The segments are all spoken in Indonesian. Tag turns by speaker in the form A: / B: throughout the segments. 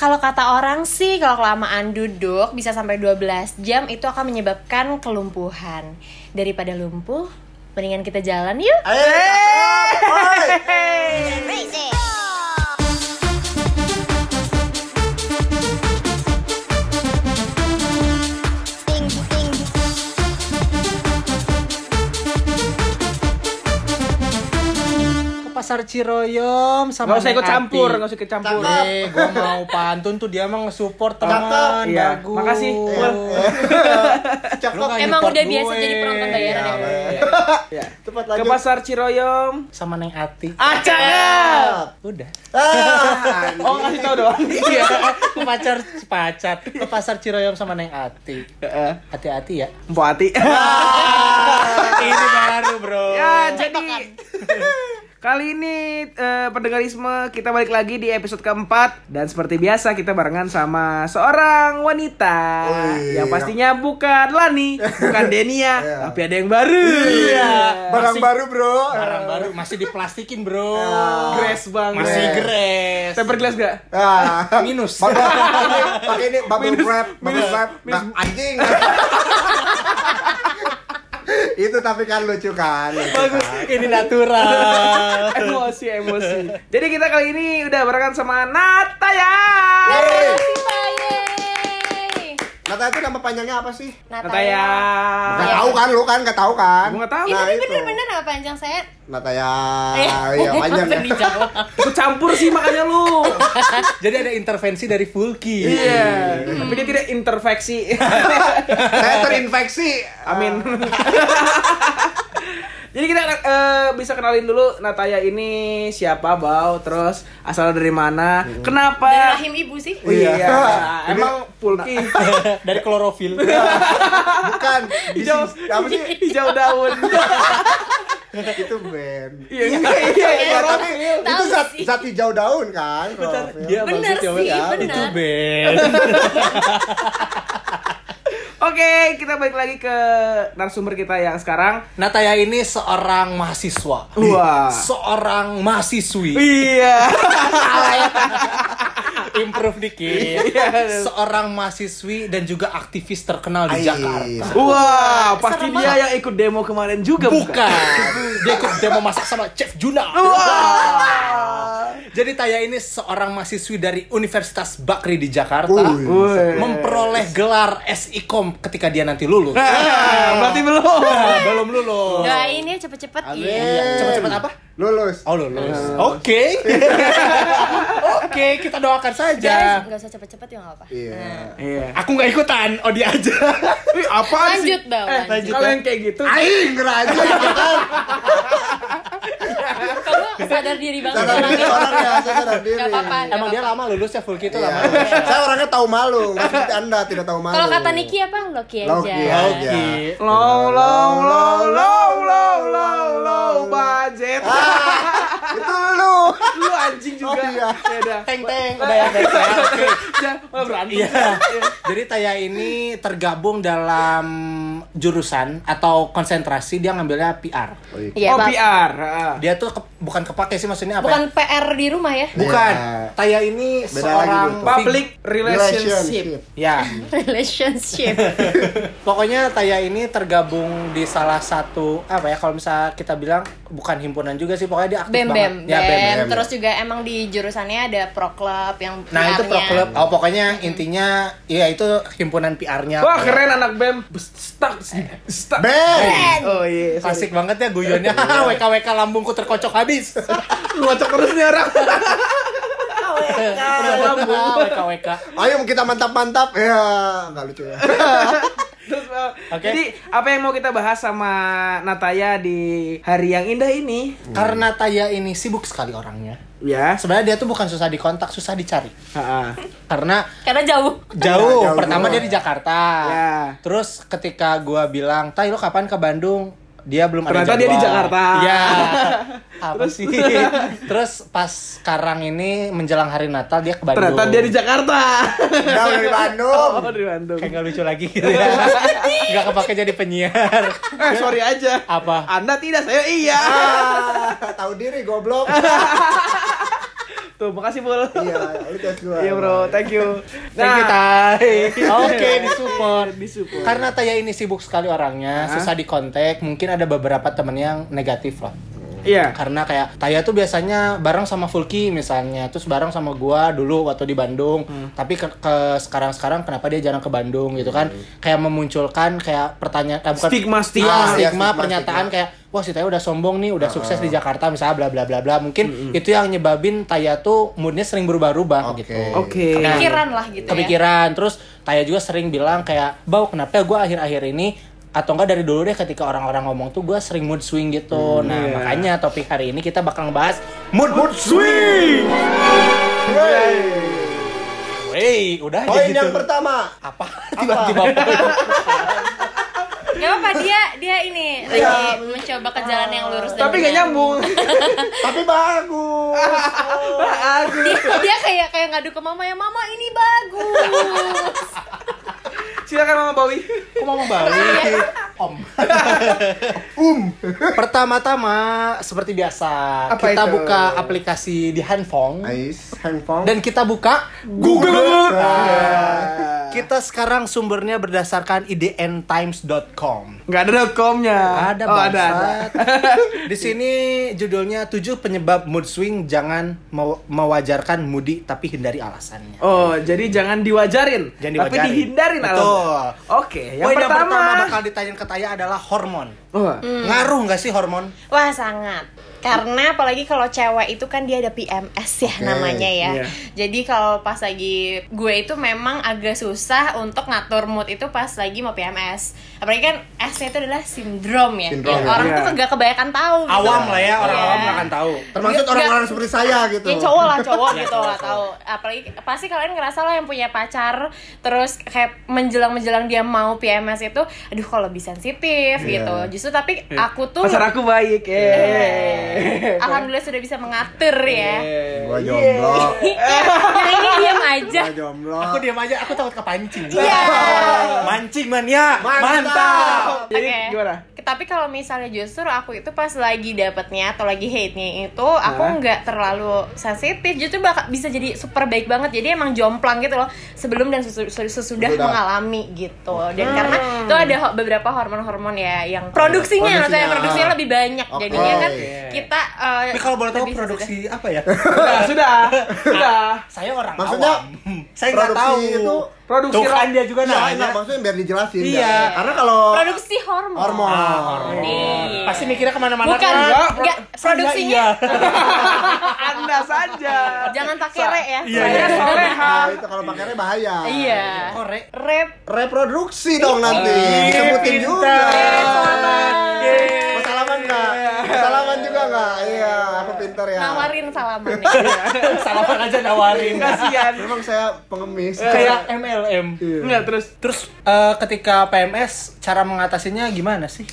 A: Kalau kata orang sih kalau kelamaan duduk bisa sampai 12 jam itu akan menyebabkan kelumpuhan. Daripada lumpuh, mendingan kita jalan yuk.
B: Ayo, cakep, oi.
C: ke pasar Ciroyom sama
D: Nggak usah ikut
C: Nekati.
D: campur, nggak usah ikut campur.
B: Cakep.
C: Eh, gua mau pantun tuh dia mah nge-support
B: Cakep.
C: teman.
D: Iya,
C: bagus.
D: makasih. Full.
B: Cakep.
C: Lu nggak
A: Emang
C: support
A: udah biasa
C: gue.
A: jadi penonton bayaran ya?
C: Iya, iya.
D: Ya.
B: Cepat
D: Ke
B: lanjut.
D: pasar Ciroyom.
C: Sama Neng Ati.
D: Acak.
C: Ah. Udah.
B: Ah,
D: Oh, ngasih tau doang.
C: Iya, ke pacar pacar ke pasar Ciroyom sama Neng Ati.
D: Heeh.
C: Hati-hati ya.
D: Empok hati.
B: Iya.
C: Ini baru, Bro.
D: Ya, jadi Kali ini eh, pendengarisme kita balik lagi di episode keempat dan seperti biasa kita barengan sama seorang wanita
B: Wih.
D: yang pastinya bukan Lani, bukan Denia,
B: Iya.
D: tapi ada yang baru.
C: Iya.
B: Barang
C: Masih-
B: baru, Bro.
C: Barang baru masih diplastikin, Bro.
D: Grace banget.
C: Masih gres.
D: Tempered glass gak?
B: Ah.
C: Minus.
B: Pakai ini bubble
D: Minus-
B: wrap, bubble
D: minus-
B: wrap. Nah,
D: minus-
B: anjing. Itu tapi kan lucu kan. lucu
D: Bagus.
B: kan.
C: Ini natural.
D: emosi, emosi. Jadi kita kali ini udah barengan sama Nataya.
B: Hey,
A: Yeay.
B: Nata itu nama panjangnya apa sih?
D: Nataya.
B: Gak tahu kan lu kan, gak tahu kan?
D: Ah. Gua nggak tahu.
A: Ini
B: Nah, itu.
A: bener-bener Eh. nama panjang saya.
B: Nataya. Iya, panjang
C: Eh,
B: ya.
D: Aku campur sih makanya lu.
C: Jadi ada intervensi dari Fulki.
D: Iya. Tapi dia tidak interfeksi.
B: Saya terinfeksi.
D: Amin. Jadi kita eh, bisa kenalin dulu Nataya ini siapa, Bau, terus asal dari mana, kenapa?
A: Dari rahim ibu sih.
B: Wih.
D: Iya, Nah.
B: Iya.
D: emang Pulki
C: dari klorofil.
B: Ah, Bukan. Di
D: Hijau.
B: sini- Apa sih?
D: hijau daun.
B: Itu band.
D: Iya, iya, iya.
B: Iya, tapi
A: Tahu
B: itu zat,
A: sih.
B: zat hijau daun kan? klorofil.
C: Dia
A: Bener
C: bagus ya,
A: sih,
C: Bang.
A: bener.
C: Itu Ben.
D: Oke, kita balik lagi ke narasumber kita yang sekarang.
C: Nataya ini seorang mahasiswa.
D: Wah.
C: Seorang mahasiswi. ya.
D: Iya.
C: Improve dikit.
D: Iya,
C: seorang mahasiswi dan juga aktivis terkenal
B: Ais.
C: di Jakarta.
D: Wah, pasti
A: Serem
D: dia yang ikut demo kemarin juga
C: Bukan. Dia ikut demo masak sama Chef Juna.
D: Wah.
C: Jadi Taya ini seorang mahasiswi dari Universitas Bakri di Jakarta.
B: Wih.
D: Wih.
C: Memperoleh gelar SIKOM ketika dia nanti lulus.
D: Nah, berarti belum.
C: Ah, Belum lulus.
A: Doain ya cepet-cepet. Iya.
B: Amin.
C: Cepet-cepet apa?
B: Lulus.
C: Oh lulus. Oke. Oke, kita doakan
A: Guys,
C: saja.
A: Iya, nggak usah cepet-cepet ya nggak apa.
B: Iya.
A: Nah.
D: Iya.
C: Aku nggak ikutan, oh dia aja.
D: Ih, apaan
A: Lanjut,
D: sih?
A: Bang,
D: Eh,
A: lanjut.
D: Kalau yang kayak gitu,
B: Aing gitu ngeraja kan.
A: Kamu sadar diri banget
B: Sadar diri
A: orangnya.
B: orangnya, ya, saya sadar diri.
A: Gak apa-apa. nggak
C: Emang dia
A: apa-apa.
C: lama lulusnya full gitu
B: Iya.
C: lama.
B: Saya orangnya tahu malu, nggak seperti Anda tidak tahu malu.
A: Kalau kata Niki apa? Loki aja. Iya,
B: Loki
C: Iya.
B: aja.
C: Oke.
D: low low low low low low low budget.
B: Ah, itu lu.
D: Lu anjing juga.
B: Oh, iya.
D: Ya udah.
C: Teng teng, udah ya teng teng. Oke.
D: Ya, malah berantem.
C: Iya. Jadi Taya ini tergabung dalam jurusan atau konsentrasi dia ngambilnya PR.
A: Iya,
D: Oh,
A: Bang.
D: PR. ah.
C: Dia tuh ke- bukan kepake sih maksudnya apa? ya?
A: Bukan PR di rumah ya.
C: Bukan.
B: Iya.
C: Taya ini
B: Beda
C: seorang
B: lagi
C: fig-
D: Public relationship.
B: Relationship.
C: Ya,
A: Relationship.
C: Pokoknya Taya ini tergabung di salah satu apa ya kalau misalnya kita bilang bukan himpunan juga sih pokoknya dia aktif
A: Bem
C: banget.
A: bem.
C: Ya, bem, bem.
A: Bem.
B: Bem.
A: Terus juga emang di jurusannya ada pro club yang
C: Nah, itu
A: PR-nya.
C: pro club. Oh, pokoknya intinya ya itu himpunan PR-nya.
D: Wah, keren anak BEM. Stuck, stuck.
B: Ben.
D: Oh iya, sorry.
C: Klasik banget ya guyonnya. WKWK lambungku terkocok habis.
D: Ngocok terus nih orang.
A: Oh, iya.
C: WKWK.
B: Ayo kita mantap-mantap. Ya, nggak lucu ya.
D: Terus, uh,
C: Oke.
D: Jadi apa yang mau kita bahas sama Nataya di hari yang indah ini?
C: Karena Taya ini sibuk sekali orangnya.
D: Ya.
C: Sebenarnya dia tuh bukan susah dikontak, susah dicari.
D: Ha-ha.
C: Karena
A: Karena jauh.
C: jauh.
B: Iya, jauh
C: Pertama
B: juga.
C: dia di Jakarta.
D: Ya.
C: Terus ketika gua bilang, "Tai lu kapan ke Bandung?" Dia belum ada
D: Ternyata dia di
C: jadwal.
D: Jakarta.
C: Iya. Apa sih? Terus pas sekarang ini menjelang hari Natal dia ke Bandung.
D: Ternyata dia di Jakarta.
B: Jauh dari Bandung.
D: Oh, di Bandung.
C: Kayak nggak lucu lagi gitu ya. Nggak kepake jadi penyiar.
D: Eh, sorry aja.
C: Apa?
D: Oh. Anda tidak, saya iya.
B: Ah, tahu diri goblok.
D: Tuh, makasih, Bul.
B: Iya, lu tes gua.
D: Iya, Bro. Thank you. Nah.
C: Thank you, Tai. Oke, disupport.
D: Disupport.
C: Karena Taya ini sibuk sekali orangnya, susah dikontak, mungkin ada beberapa temen yang negatif lah.
D: Iya.
C: Karena kayak Taya tuh biasanya bareng sama Fulki misalnya, terus bareng sama gua dulu waktu di Bandung. Tapi ke, ke- sekarang-sekarang kenapa dia jarang ke Bandung gitu kan? Kayak memunculkan kayak pertanyaan eh, bukan
D: Stigma, stigma.
C: Ah,
B: Iya,
C: stigma,
B: stigma,
C: pernyataan kayak wah si Taya udah sombong nih, udah sukses di Jakarta misalnya bla bla bla bla. Mungkin itu yang nyebabin Taya tuh moodnya sering berubah-ubah
B: Oke.
C: gitu.
D: Oke.
C: Nah,
A: Pikiran lah gitu ya.
C: kepikiran terus Taya juga sering bilang kayak bau kenapa gue akhir-akhir ini atau enggak dari dulu deh ketika orang-orang ngomong tuh gue sering mood swing gitu nah
D: iya.
C: makanya topik hari ini kita bakal ngebahas mood mood swing
B: Wey.
C: Wey, udah aja
B: Poin
C: gitu
B: yang pertama.
C: apa tiba-tiba poin?
A: Gak apa dia dia ini
B: Iya.
A: lagi mencoba ke jalan yang lurus dan
D: Tapi gak
A: benar.
D: nyambung.
B: Tapi bagus.
A: Dia, dia kayak kayak ngadu ke mama ya mama ini bagus.
D: Silakan Mama Bowie.
C: Kok mama balik? Om.
B: Um.
C: Pertama-tama seperti biasa
D: Apa
C: kita
D: itu?
C: buka aplikasi di handphone
B: Ais, handphone.
C: dan kita buka
D: Google.
C: Kita sekarang sumbernya berdasarkan idntimes.com.
D: Gak ada .com-nya.
C: Ada
D: oh, ada, ada.
C: bangsat. Di sini judulnya 7 penyebab mood swing jangan mew- mewajarkan moody tapi hindari alasannya.
D: Oh, jadi jangan diwajarin,
C: Jangan
D: tapi
C: diwajarin.
D: dihindarin
C: Betul.
D: alasannya. Oke, yang,
C: Poin
D: pertama. Oh. Iya.
C: bakal ditanyain ke Taya adalah hormon.
D: Wah,
C: Ngaruh nggak sih hormon?
A: Wah sangat. Karena apalagi kalau cewek itu kan dia ada PMS ya namanya ya.
D: Iya.
A: Jadi kalau pas lagi gue itu memang agak susah untuk ngatur mood itu pas lagi mau PMS. Apalagi kan S-nya itu adalah sindrom ya.
B: Sindrom,
A: Ya,
B: ya.
A: orang tuh
D: Iya.
A: gak kebayang tahu. gitu.
C: Awam lah ya, orang
A: Iya.
C: awam nggak akan tahu.
B: Termasuk
A: Nggak-
B: orang-orang seperti saya gitu.
A: Ya cowok lah cowok
C: Iya,
A: gitu lah
C: cowok,
A: tahu. Apalagi pasti kalian ngerasa lah yang punya pacar terus kayak menjelang-menjelang dia mau PMS itu aduh kalau lebih sensitif gitu. Justru tapi
C: Iya.
A: aku tuh
D: pasar aku baik. Eh.
A: Alhamdulillah sudah bisa mengatur ya.
B: Gua jomblo.
A: Yang ini diam aja.
B: Gua jomblo.
C: Aku diam aja, aku takut kepancing.
A: Iya.
C: Mancing mania, mantap.
B: Mantap.
D: Jadi
A: Oke.
D: gimana?
A: Tapi kalau misalnya justru aku itu pas lagi dapetnya atau lagi hate-nya itu aku
D: Hah?
A: nggak terlalu sensitif, justru bakal bisa jadi super baik banget. Jadi emang jomplang gitu loh sebelum dan sesu- sesu- sesudah
B: Sesudah. Hmm.
A: mengalami gitu. Dan karena itu ada ho- beberapa hormon-hormon ya yang produksinya,
B: Produksinya.
A: maksudnya produksinya lebih banyak.
B: Oke.
A: Jadinya kan
B: Oke.
A: kita eh,
C: Tapi kalau boleh tahu
A: lebih sesudah.
C: produksi apa ya?
D: Sudah, sudah, sudah.
C: Saya orang
B: Maksudnya,
C: awam. Saya nggak
B: produksi
C: tahu.
B: itu-
D: Produksi
C: Tuh kan
D: rock.
C: dia juga
B: Iya,
C: nanya.
B: enggak, maksudnya biar dijelasin.
C: Iya.
B: biar- Karena kalau
A: produksi hormon.
B: hormon.
C: Ah, hormon.
A: Iya.
C: Pasti mikirnya kemana-mana
A: Bukan,
C: kan?
D: Enggak,
A: enggak,
C: Saya
A: produksinya
C: iya.
D: Anda saja.
A: Jangan pakai re ya.
C: Iya,
D: Saya
C: iya.
D: soleha.
B: Nah, itu kalau pakainya bahaya.
A: Iya.
C: Korek.
A: Rep.
B: Reproduksi dong nanti.
C: Ih,
B: Disebutin
C: Iya, pintar. Iya,
B: juga. Iya.
C: Selamat. Iya. Yeay.
B: Mau salaman enggak? Mau salaman juga enggak? Iya, aku pintar ya.
A: Nawarin salaman.
C: Salaman aja nawarin.
D: Kasihan.
B: Memang saya pengemis.
C: Iya. Kayak MLM.
B: Iya.
D: Enggak terus.
C: Terus eh, ketika PMS cara mengatasinya gimana sih?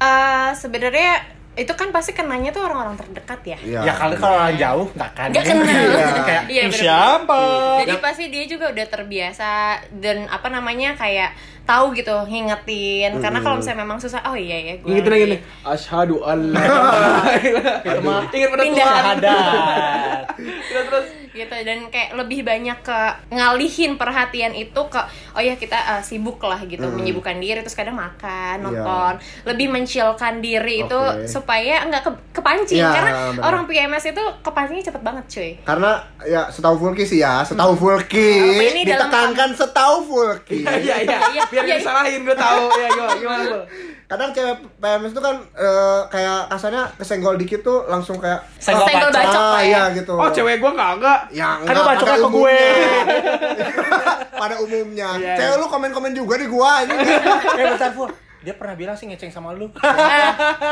A: Eh, Sebenarnya itu kan pasti kenanya tuh orang-orang terdekat ya.
B: Iya.
C: Ya kali kalau orang jauh nggak kan.
A: Nggak kenal.
C: Iya. Kayak
A: Iya,
C: "Lu
A: bener-bener.
C: siapa?
A: Oh,
B: Iya.
A: Jadi pasti dia juga udah terbiasa dan apa namanya kayak tahu gitu ngingetin
B: Hmm,
A: karena kalau misalnya memang susah oh iya ya gue
D: Gitu
A: lagi-
D: lagi nih. Asyhadu Allah.
C: Itu mah
D: Ingat pada
A: Pindah.
D: Tuhan.
C: syahadat.
D: Terus terus.
A: gitu dan kayak lebih banyak ke ngalihin perhatian itu ke oh ya kita eh, sibuk lah gitu
B: Hmm.
A: menyibukkan diri terus kadang makan nonton lebih mencilkan diri itu
B: Iya. Oke.
A: supaya nggak ke- kepancing
B: Iya,
A: karena
B: benar.
A: orang PMS itu kepancingnya cepet banget cuy
B: Karena ya setahu Fulki sih ya, setahu Fulki
A: Apa ini dalam-
B: ditekankan setahu Fulki.
D: Iya iya.
A: Iya,
D: Biar
A: iya.
D: disalahin gue tahu. Iya gimana gimana Bul?
B: Kadang cewek PMS itu kan eh, kayak kasarnya kesenggol dikit tuh langsung kayak
C: Senggol
A: Senggol
C: bacok.
A: Bacok
B: ah
A: lah ya.
B: iya gitu.
D: Oh cewek gue kagak.
B: Ya, enggak,
C: Kan lu bacoknya
B: pada
C: ke gue.
B: umumnya. pada umumnya.
D: Iya, Gitu
B: Cewek
D: iya.
B: lu komen-komen juga di gua ini.
C: Eh bentar Fur. Dia pernah bilang sih ngeceng sama lu.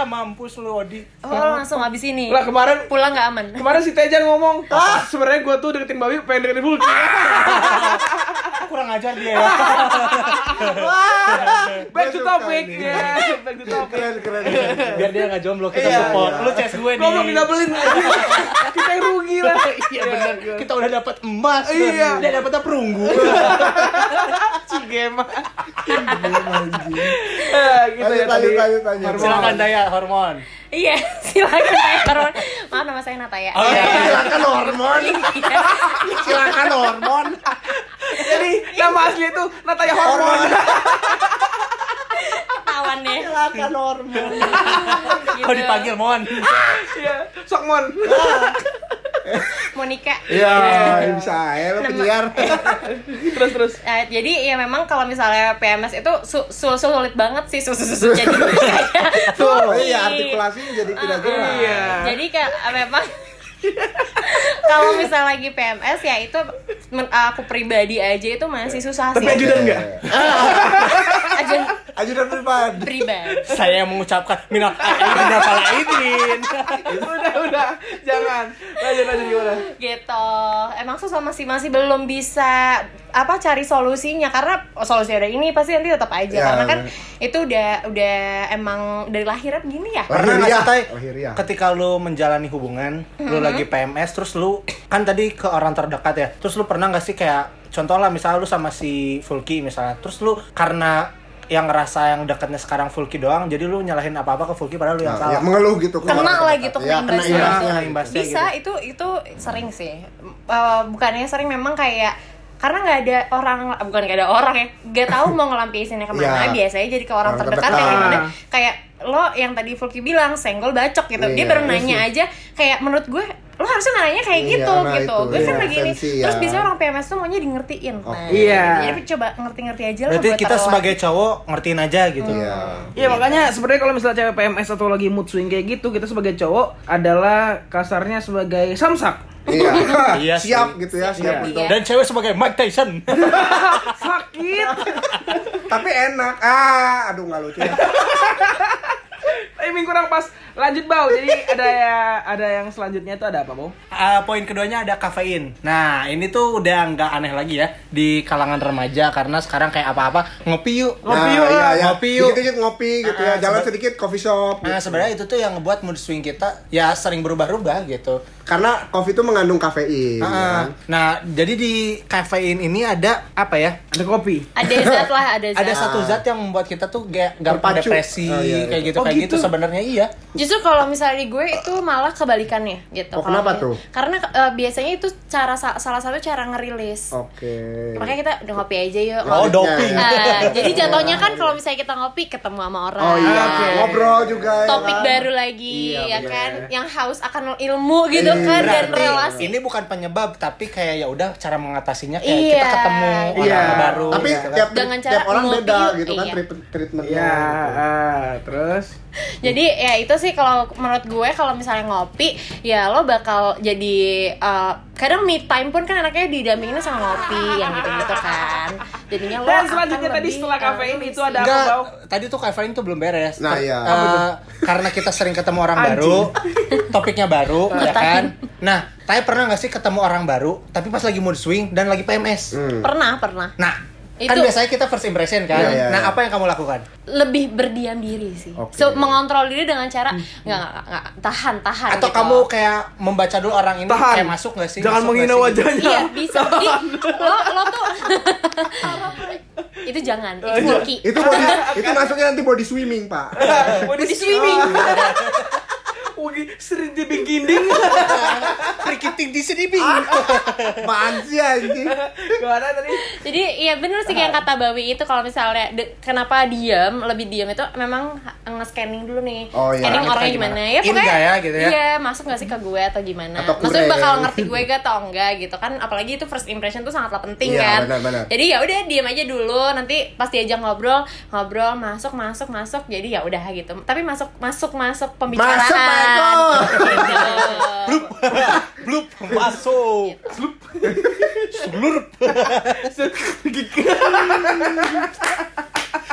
C: Mampus lu Odi.
A: oh langsung habis ini
D: Lah kemarin
A: pulang nggak aman
D: kemarin si Tejan ngomong, ah sebenarnya gue tuh deketin Bawi pengen deketin Fulki.
B: Ah.
C: Kurang ajar dia ya.
D: Back to
B: Gua suka
D: topic.
B: nih.
D: Iya, back to topic.
B: Keren keren. keren.
C: Biar dia nggak jomblo kita
B: Iya,
C: support.
B: iya.
C: Lu CS gue nih.
D: Goblok didabelin Kita yang rugi lah.
C: Iya benar. Kita udah dapat emas.
D: Iya.
C: Dia dapatnya perunggu.
D: Cigema.
B: Anjing.
D: Eh, gitu ya
B: Lanjut, lanjut,
D: tadi.
B: lanjut, lanjut.
D: Hormon.
A: Gitu.
C: Silakan Daya hormon.
A: iya silakan Pak Erwan. Maaf nama saya Nataya.
E: Oh, iya.
B: silakan hormon silakan hormon
D: Jadi nama asli itu Nataya Iya. Hormon.
B: hormon
A: Ketahuan deh.
B: silakan hormon
A: Gitu.
C: Kau dipanggil Mon.
D: Iya, Sokmon. Ah.
A: Monica.
D: Iya.
B: ya bisa ya lo penyiar
D: terus terus.
A: Nah, jadi ya memang kalau misalnya PMS itu su su- sulit banget sih su su su- su- jadi kayak
B: tuh
A: fully.
B: iya artikulasi jadi
A: Ah,
B: tidak jelas
D: Iya.
A: Jadi kayak eh, memang kalau misalnya lagi PMS ya itu men- aku pribadi aja itu masih susah
D: Tapi
A: sih.
D: ajudan enggak?
A: Ajudan
B: Iya. ajudan depan
A: pribadi.
C: Saya yang mengucapkan minal aidin wal faidin.
D: udah udah jangan lanjut lanjut gimana
A: gitu emang susah masih masih belum bisa apa cari solusinya karena oh, solusi ada ini pasti nanti tetap aja
B: Ya.
A: karena kan itu udah udah emang dari lahirnya begini ya
C: Pernah nggak sih, Tay?
B: Lahiriah.
C: Ketika lu menjalani hubungan, lu lagi PMS, terus lu kan tadi ke orang terdekat ya. Terus lu pernah nggak sih kayak contoh lah misalnya lu sama si Fulki misalnya. Terus lu karena yang ngerasa yang dekatnya sekarang Fulki doang, jadi lu nyalahin apa-apa ke Fulki padahal lu yang
B: Nah, ya,
C: salah.
B: mengeluh gitu
A: kena
B: keluar.
A: lah gitu
B: ya,
A: kena
B: kena
A: imbasnya
C: imbas.
A: gitu.
B: imbas
C: Kena imbasnya
A: bisa itu itu sering sih Eh, bukannya sering memang kayak karena nggak ada orang bukan nggak ada orang ya nggak tahu mau ngelampiasinnya kemana
B: Iya.
A: biasanya jadi ke orang,
B: Orang
A: terdekat,
B: terdekat.
A: yang gimana kayak lo yang tadi Fulki bilang senggol bacok gitu dia
B: Iya,
A: baru
B: iya
A: nanya aja kayak menurut gue lo harusnya nanya kayak
B: Iya,
A: gitu
B: nah
A: gitu
B: itu,
A: gue kan
B: iya, Oh,
A: lagi ini
B: sensi,
A: terus
B: ya.
A: biasanya orang PMS tuh maunya di ngertiin nah,
D: Iya.
A: jadi coba ngerti-ngerti aja lah
C: Berarti
A: buat
C: kita
A: orang lain.
C: sebagai cowok ngertiin aja gitu.
B: Iya.
D: Iya makanya sebenarnya kalau misalnya cewek PMS atau lagi mood swing kayak gitu kita sebagai cowok adalah kasarnya sebagai samsak
B: Iya.
C: Iya sih.
B: siap gitu ya, siap
A: Iya.
B: untuk.
C: Dan cewek sebagai Mike Tyson.
D: sakit
B: Tapi enak. Ah, aduh nggak lucu. ya.
D: timing kurang pas lanjut bau jadi ada ya ada yang selanjutnya itu ada apa bau
C: Uh, poin keduanya ada kafein. Nah, ini tuh udah nggak aneh lagi ya di kalangan remaja karena sekarang kayak apa-apa ngopi yuk.
D: Ngopi
B: Nah,
D: yuk,
B: iya, iya.
C: ngopi yuk.
B: Dikit-dikit ngopi gitu ya.
C: Ah,
B: Jalan
C: sebe-
B: sedikit coffee shop. gitu.
C: Nah, sebenarnya itu tuh yang ngebuat mood swing kita ya sering berubah-ubah gitu.
B: Karena kopi itu mengandung kafein. ya
C: Ah,
B: kan?
C: Nah, jadi di kafein ini ada apa ya?
D: ada kopi
A: ada zat lah ada zat
C: Ada satu zat yang membuat kita tuh kayak
B: Ah.
C: gampang
B: Terpacu.
C: depresi
B: Oh, iya,
C: kayak
B: iya.
C: gitu
D: Oh,
C: kayak gitu,
D: gitu.
C: sebenarnya iya.
A: Justru kalau misalnya di gue itu malah kebalikannya gitu.
B: Oh, kenapa
A: Kalau-
B: tuh?
A: Karena eh, biasanya itu cara sa- salah satu cara ngerilis.
B: Oke.
A: Makanya kita udah ngopi aja yuk.
C: Oh,
B: Lanjutnya.
C: doping.
A: Ah, jadi jatuhnya kan kalau misalnya kita ngopi ketemu sama orang. Ah,
B: Oh
C: Ah,
B: iya,
D: Oke.
B: ngobrol juga ya
A: Topik
B: kan?
A: baru lagi
B: Iya,
A: ya
B: bener.
A: kan yang haus akan ilmu gitu
B: Iya.
A: kan dan
C: Berarti
A: relasi.
C: ini bukan penyebab tapi kayak ya udah cara mengatasinya kayak
A: Iya.
C: kita ketemu orang
B: Iya.
C: baru.
B: Tapi
C: gitu kan.
B: tiap,
A: Dengan
B: tiap
A: cara
B: orang
A: ngopi
B: beda
A: yuk,
B: gitu kan
A: iya.
B: treat- treatmentnya.
D: ya
B: gitu.
D: ah, terus
A: Jadi ya itu sih kalau menurut gue kalau misalnya ngopi ya lo bakal jadi eh, kadang me time pun kan enaknya didampingin sama ngopi yang gitu-gitu kan. Jadinya lo
D: dan
A: akan
D: selanjutnya tadi
A: lebih,
D: setelah
A: eh,
D: kafein itu ada apa
C: Enggak,
D: bau
C: tadi tuh kafein tuh belum beres.
B: Nah,
C: Ter-
B: iya.
C: eh, karena kita sering ketemu orang
D: Anjing.
C: baru, topiknya baru, ya kan? Nah, saya pernah nggak sih ketemu orang baru, tapi pas lagi mood swing dan lagi PMS.
B: Hmm.
A: Pernah, pernah.
C: Nah, kan
A: Itu-
C: biasanya kita first impression kan.
B: Iya, iya,
C: nah,
B: iya.
C: apa yang kamu lakukan?
A: Lebih berdiam diri sih.
B: Oke.
A: So, mengontrol diri dengan cara nggak nggak nggak, tahan tahan.
C: Atau
A: gitu.
C: kamu kayak membaca dulu orang ini
D: tahan
C: kayak masuk nggak sih?
D: jangan
C: masuk
D: menghina
C: nggak sih?
D: wajahnya
A: Iya bisa. Jadi lo lo tuh itu jangan.
C: Oh,
A: Itu
C: iya.
A: bulky.
B: Itu body, itu masuknya nanti body swimming, Pak.
D: Body
A: swimming.
D: Wagi sering di bingkinding.
C: Rikiting di sini bing.
D: Ah.
B: Apaan sih anjing?
D: Gimana tadi?
A: Jadi iya bener sih kayak yang kata Bawi itu kalau misalnya de- kenapa diam lebih diam itu memang ha- nge-scanning dulu nih.
B: Oh, iya.
A: Scanning
C: Orangnya
A: orangnya
C: gimana?
A: gimana.
C: In nggak ya, gitu ya?
A: Iya, masuk nggak sih ke gue atau gimana?
B: Atau kurang.
A: Maksudnya bakal ngerti gue gak atau enggak gitu kan apalagi itu first impression tuh sangatlah penting
B: Iya,
A: kan.
B: benar-benar.
A: Jadi ya udah diam aja dulu nanti pasti aja ngobrol, ngobrol masuk masuk masuk jadi ya udah gitu. Tapi masuk masuk masuk pembicaraan.
B: Masuk, Pak Eko.
A: Gitu.
C: Blup. Blup masuk. Slup. Slurp.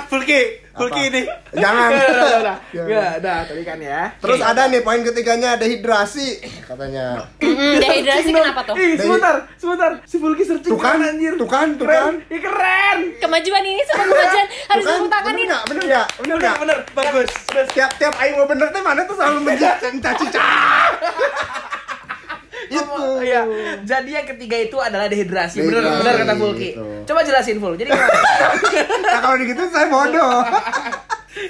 C: Fulki, Fulki ini.
B: Jangan.
D: Udah, udah, udah.
B: Ya.
D: Udah, udah, tadi kan ya.
B: Terus ada nih poin ketiganya dehidrasi katanya.
A: Mm-mm, dehidrasi kenapa tuh?
D: Ih, sebentar, sebentar. Si Fulki searching
B: Tuh kan,
D: keren, anjir.
B: tuh kan, tuh
D: Keren.
B: kan.
D: Ih, keren.
A: Kemajuan ini sama kemajuan harus
B: Tuh kan,
A: tepuk tangan
B: bener
A: ini.
B: nggak? Bener nggak? Bener
D: Bener,
B: nggak?
D: bener. Bagus. Terus
B: Tiap tiap aing mau bener tuh mana tuh selalu menjelaskan caci cah. Itu.
D: Iya. Jadi yang ketiga itu adalah dehidrasi. Bener,
B: Dehidrasi,
D: bener kata Fulki.
B: gitu.
D: Coba jelasin Ful. Jadi gimana?
B: Nah kalau begitu saya bodoh.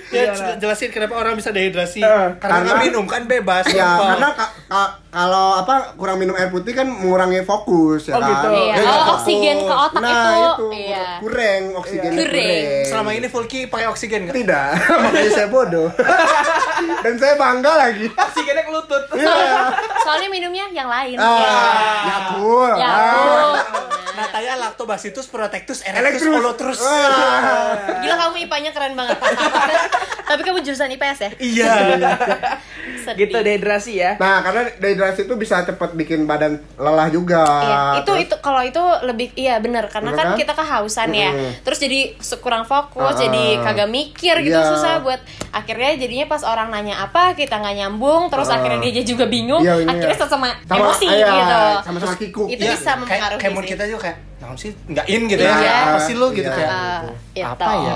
C: ya jel- jelasin kenapa orang bisa dehidrasi
D: Heeh.
C: karena, nggak
B: Karena-
C: minum kan bebas
B: ya
C: sumpah.
B: karena ka- ka- kalau apa kurang minum air putih kan mengurangi fokus ya
D: Oh,
B: kan?
D: gitu.
B: Dia
A: Iya,
B: nggak
A: kalau
B: fokus.
A: oksigen ke otak
B: nah,
A: itu, iya.
B: kurang oksigen
A: Kurang.
C: selama ini Fulki pakai oksigen nggak
B: tidak makanya saya bodoh dan saya bangga lagi Iya.
D: Oksigennya ke lutut.
A: Soalnya minumnya yang lain.
B: ah ya cool
A: Ya,
B: ah.
A: ampun.
C: Nataya Nah, lactobacillus protectus erectus
B: Elektrus.
C: polotrus
B: Ah.
A: Gila kamu IPA-nya keren banget. Tapi kamu jurusan IPS ya?
C: iya
A: Sedih.
D: gitu dehidrasi ya.
B: Nah, karena dehidrasi itu bisa cepat bikin badan lelah juga.
A: Iya, itu
B: Ah, Terus-
A: itu kalau itu lebih iya bener karena
B: Bener
A: kan
B: kan?
A: kita kehausan ya.
B: Mm-mm.
A: Terus jadi se- kurang fokus,
B: Ah.
A: jadi kagak mikir gitu
B: Iya.
A: susah buat akhirnya jadinya pas orang nanya apa kita nggak nyambung, terus
B: Ah.
A: akhirnya dia juga bingung,
B: Iya, iya.
A: akhirnya sama,
B: Sama-
A: emosi
B: iya,
A: gitu.
B: sama-sama kikuk.
A: Itu
B: Iya,
A: bisa
C: kayak-
A: mempengaruhi
C: kayak mood
A: sih.
C: kita juga kayak nah sih nggak in gitu
A: Iya.
C: ya apa sih lu gitu
B: Iya.
C: kayak
A: Ah,
E: Apa
A: gitu.
E: ya?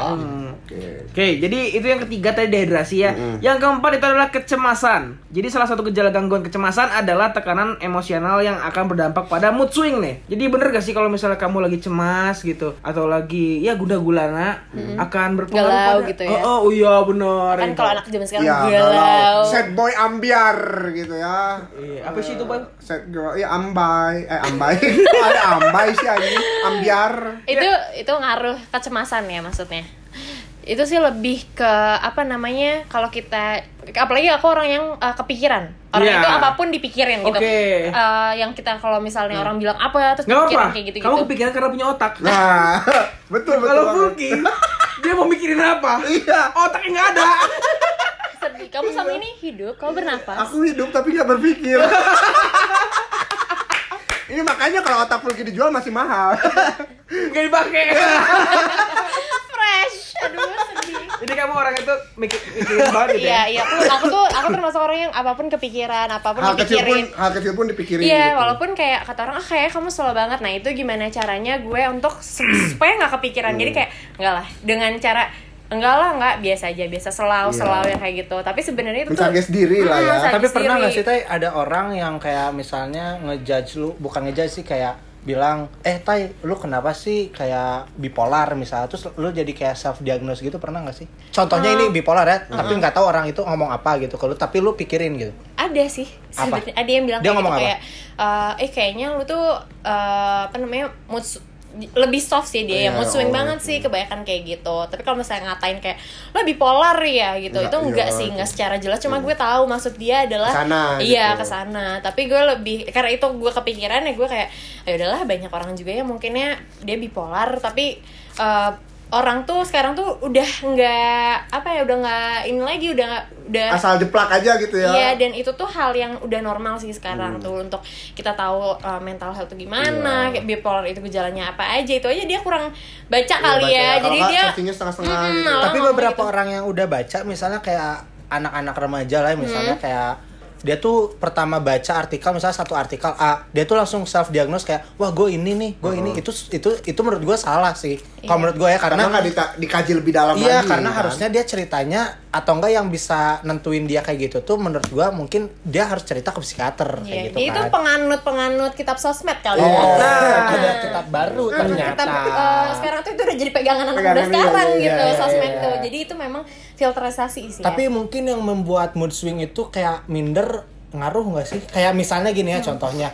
D: Oke, jadi itu yang ketiga tadi dehidrasi ya. Yang keempat itu adalah kecemasan. Jadi salah satu gejala gangguan kecemasan adalah tekanan emosional yang akan berdampak pada mood swing nih. Jadi bener gak sih kalau misalnya kamu lagi cemas gitu atau lagi ya gundah gulana akan berpengaruh
A: Galau
D: pada-
A: gitu ya.
D: Oh, oh, iya benar.
A: Kan kalau anak zaman sekarang
B: Iya,
A: galau.
B: Sad boy ambiar gitu ya.
D: Iya, apa sih itu, Bang?
B: Sad girl, ya ambai, eh ambai. Kok ada ambai sih anjing? Ambiar.
A: itu itu ngaruh kecemasan ya maksudnya itu sih lebih ke apa namanya kalau kita apalagi aku orang yang uh, kepikiran orang
D: Iya.
A: itu apapun dipikirin gitu
D: Oke.
A: Uh, yang kita kalau misalnya orang bilang apa terus
D: Gak apa-apa.
A: dipikirin kayak gitu
D: Kamu
A: gitu
D: kepikiran karena punya otak.
B: Nah, betul betul.
D: kalau
B: banget.
D: Fulki dia mau mikirin apa? Iya, otaknya nggak ada.
A: Sedih. kamu sama ini hidup kamu bernafas
B: Aku hidup tapi nggak berpikir. Ini makanya kalau otak Fulki dijual masih mahal.
D: Nggak dipakai.
B: Iya.
A: fresh aduh sedih
D: Jadi kamu orang itu mikir mikirin banget gitu ya.
A: iya iya aku, aku tuh aku termasuk orang yang apapun kepikiran apapun
B: Hal kecil pun,
A: dipikirin
B: hal kecil pun dipikirin.
A: Iya,
B: gitu.
A: walaupun kayak kata orang, ah kayak kamu slow banget. Nah itu gimana caranya gue untuk se- supaya nggak kepikiran.
B: Iya.
A: Jadi kayak enggak lah, dengan cara enggak lah enggak biasa aja, biasa selau
B: Iya.
A: selau yang kayak gitu. Tapi sebenarnya itu
B: Mencari diri lah ya.
A: mencari
C: Ah, tapi pernah
A: diri.
C: nggak sih tay ada orang yang kayak misalnya ngejudge lu bukan ngejudge sih kayak bilang eh tay lu kenapa sih kayak bipolar misalnya terus lu jadi kayak self diagnose gitu pernah nggak sih contohnya ini bipolar ya tapi nggak tahu orang itu ngomong apa gitu kalau tapi lu pikirin gitu
A: ada sih
C: Apa?
A: sebenarnya ada yang bilang
C: Dia
A: kayak,
C: ngomong
A: gitu,
C: apa?
A: kayak eh eh, kayaknya lu tuh eh, apa namanya mood s- lebih soft sih dia ya
B: Iya,
A: mood swing
B: oh,
A: banget sih kebanyakan kayak gitu tapi kalau misalnya ngatain kayak lo bipolar ya gitu
B: Nggak,
A: itu enggak
B: iya.
A: sih enggak secara jelas cuma gue tahu maksud dia adalah
B: Kesana,
A: iya
B: gitu.
A: kesana tapi gue lebih karena itu gue kepikiran ya gue kayak ya udahlah banyak orang juga ya mungkinnya dia bipolar tapi eh, orang tuh sekarang tuh udah nggak apa ya udah nggak ini lagi udah nggak- udah
B: Asal jeplak aja gitu ya.
A: ya. Iya, dan itu tuh hal yang udah normal sih
C: Hmm.
A: sekarang tuh untuk kita tahu uh, mental health itu
C: Iya.
A: gimana, kayak bipolar itu gejalanya apa aja itu aja dia kurang baca
C: Iya,
A: kali
B: baca
A: ya.
B: ya. Kalau
A: Jadi
B: nggak,
A: dia
B: searchingnya setengah-setengah
A: Mm-mm,
B: gitu.
A: malah
C: tapi
A: ngomong
C: beberapa
A: gitu.
C: orang yang udah baca misalnya kayak anak-anak remaja lah misalnya kayak dia tuh pertama baca artikel misalnya satu artikel A dia tuh langsung self diagnose kayak wah gue ini nih gue ini itu itu itu menurut gue salah sih kalau menurut gue ya
B: karena
C: karena
B: nggak dita- dikaji lebih dalam lagi.
C: Iya, karena
B: kan?
C: harusnya dia ceritanya atau enggak yang bisa nentuin dia kayak gitu tuh menurut gua mungkin dia harus cerita ke psikiater
A: Iya,
C: kayak gitu
A: dia itu
C: kan.
A: penganut-penganut kitab sosmed kali ya.
C: Oh,
D: Nah.
C: ada kitab baru
A: Mm,
C: ternyata.
A: kitab, uh, sekarang tuh itu udah jadi pegangan anak muda
B: Pegangan, iya,
A: sekarang
B: iya,
A: gitu
C: iya,
A: sosmed
C: iya.
A: tuh. Jadi itu memang filterisasi ya. isinya.
C: Tapi mungkin yang membuat mood swing itu kayak minder ngaruh nggak sih? Kayak misalnya gini
A: Mm.
C: ya contohnya.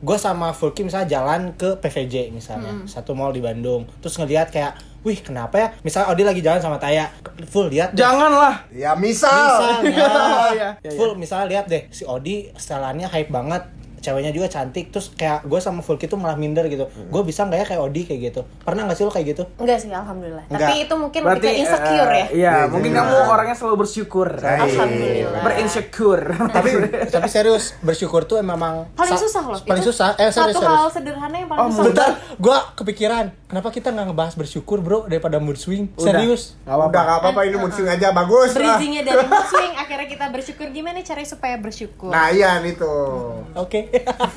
C: Gue sama Fulki misalnya jalan ke PVJ misalnya,
A: Mm.
C: satu mall di Bandung. Terus ngelihat kayak, "Wih, kenapa ya?" Misalnya Odi lagi jalan sama Taya. Full lihat deh.
D: Janganlah.
B: Ya misal. ya.
C: misalnya
D: Oh, iya.
C: full misalnya lihat deh si Odi setelannya hype banget ceweknya juga cantik terus kayak gue sama Fulki tuh malah minder gitu
D: Hmm.
C: gue bisa nggak ya kayak Odi kayak gitu pernah nggak sih lo kayak gitu
A: enggak sih alhamdulillah. Tapi
C: Enggak.
A: itu mungkin
D: Berarti
A: lebih ke insecure ya.
D: eh, Iya,
B: Iya,
D: mungkin
B: jangan.
D: kamu orangnya selalu bersyukur.
A: Alhamdulillah.
D: Berinsecure.
C: tapi tapi serius bersyukur tuh memang
A: Paling
C: sa-
A: susah loh.
C: paling
A: Itu
C: susah eh serius
A: Satu hal
C: serius
A: sederhana yang paling
D: Oh,
A: susah.
C: bentar gue kepikiran kenapa kita nggak ngebahas bersyukur bro daripada mood swing serius
D: Nggak apa-apa.
B: Udah gak Iya. apa-apa eh, ini muncing aja bagus. ah. lah.
A: bridgingnya dari mood swing akhirnya kita bersyukur gimana caranya supaya bersyukur
B: Nah, iya nih tuh.
C: oke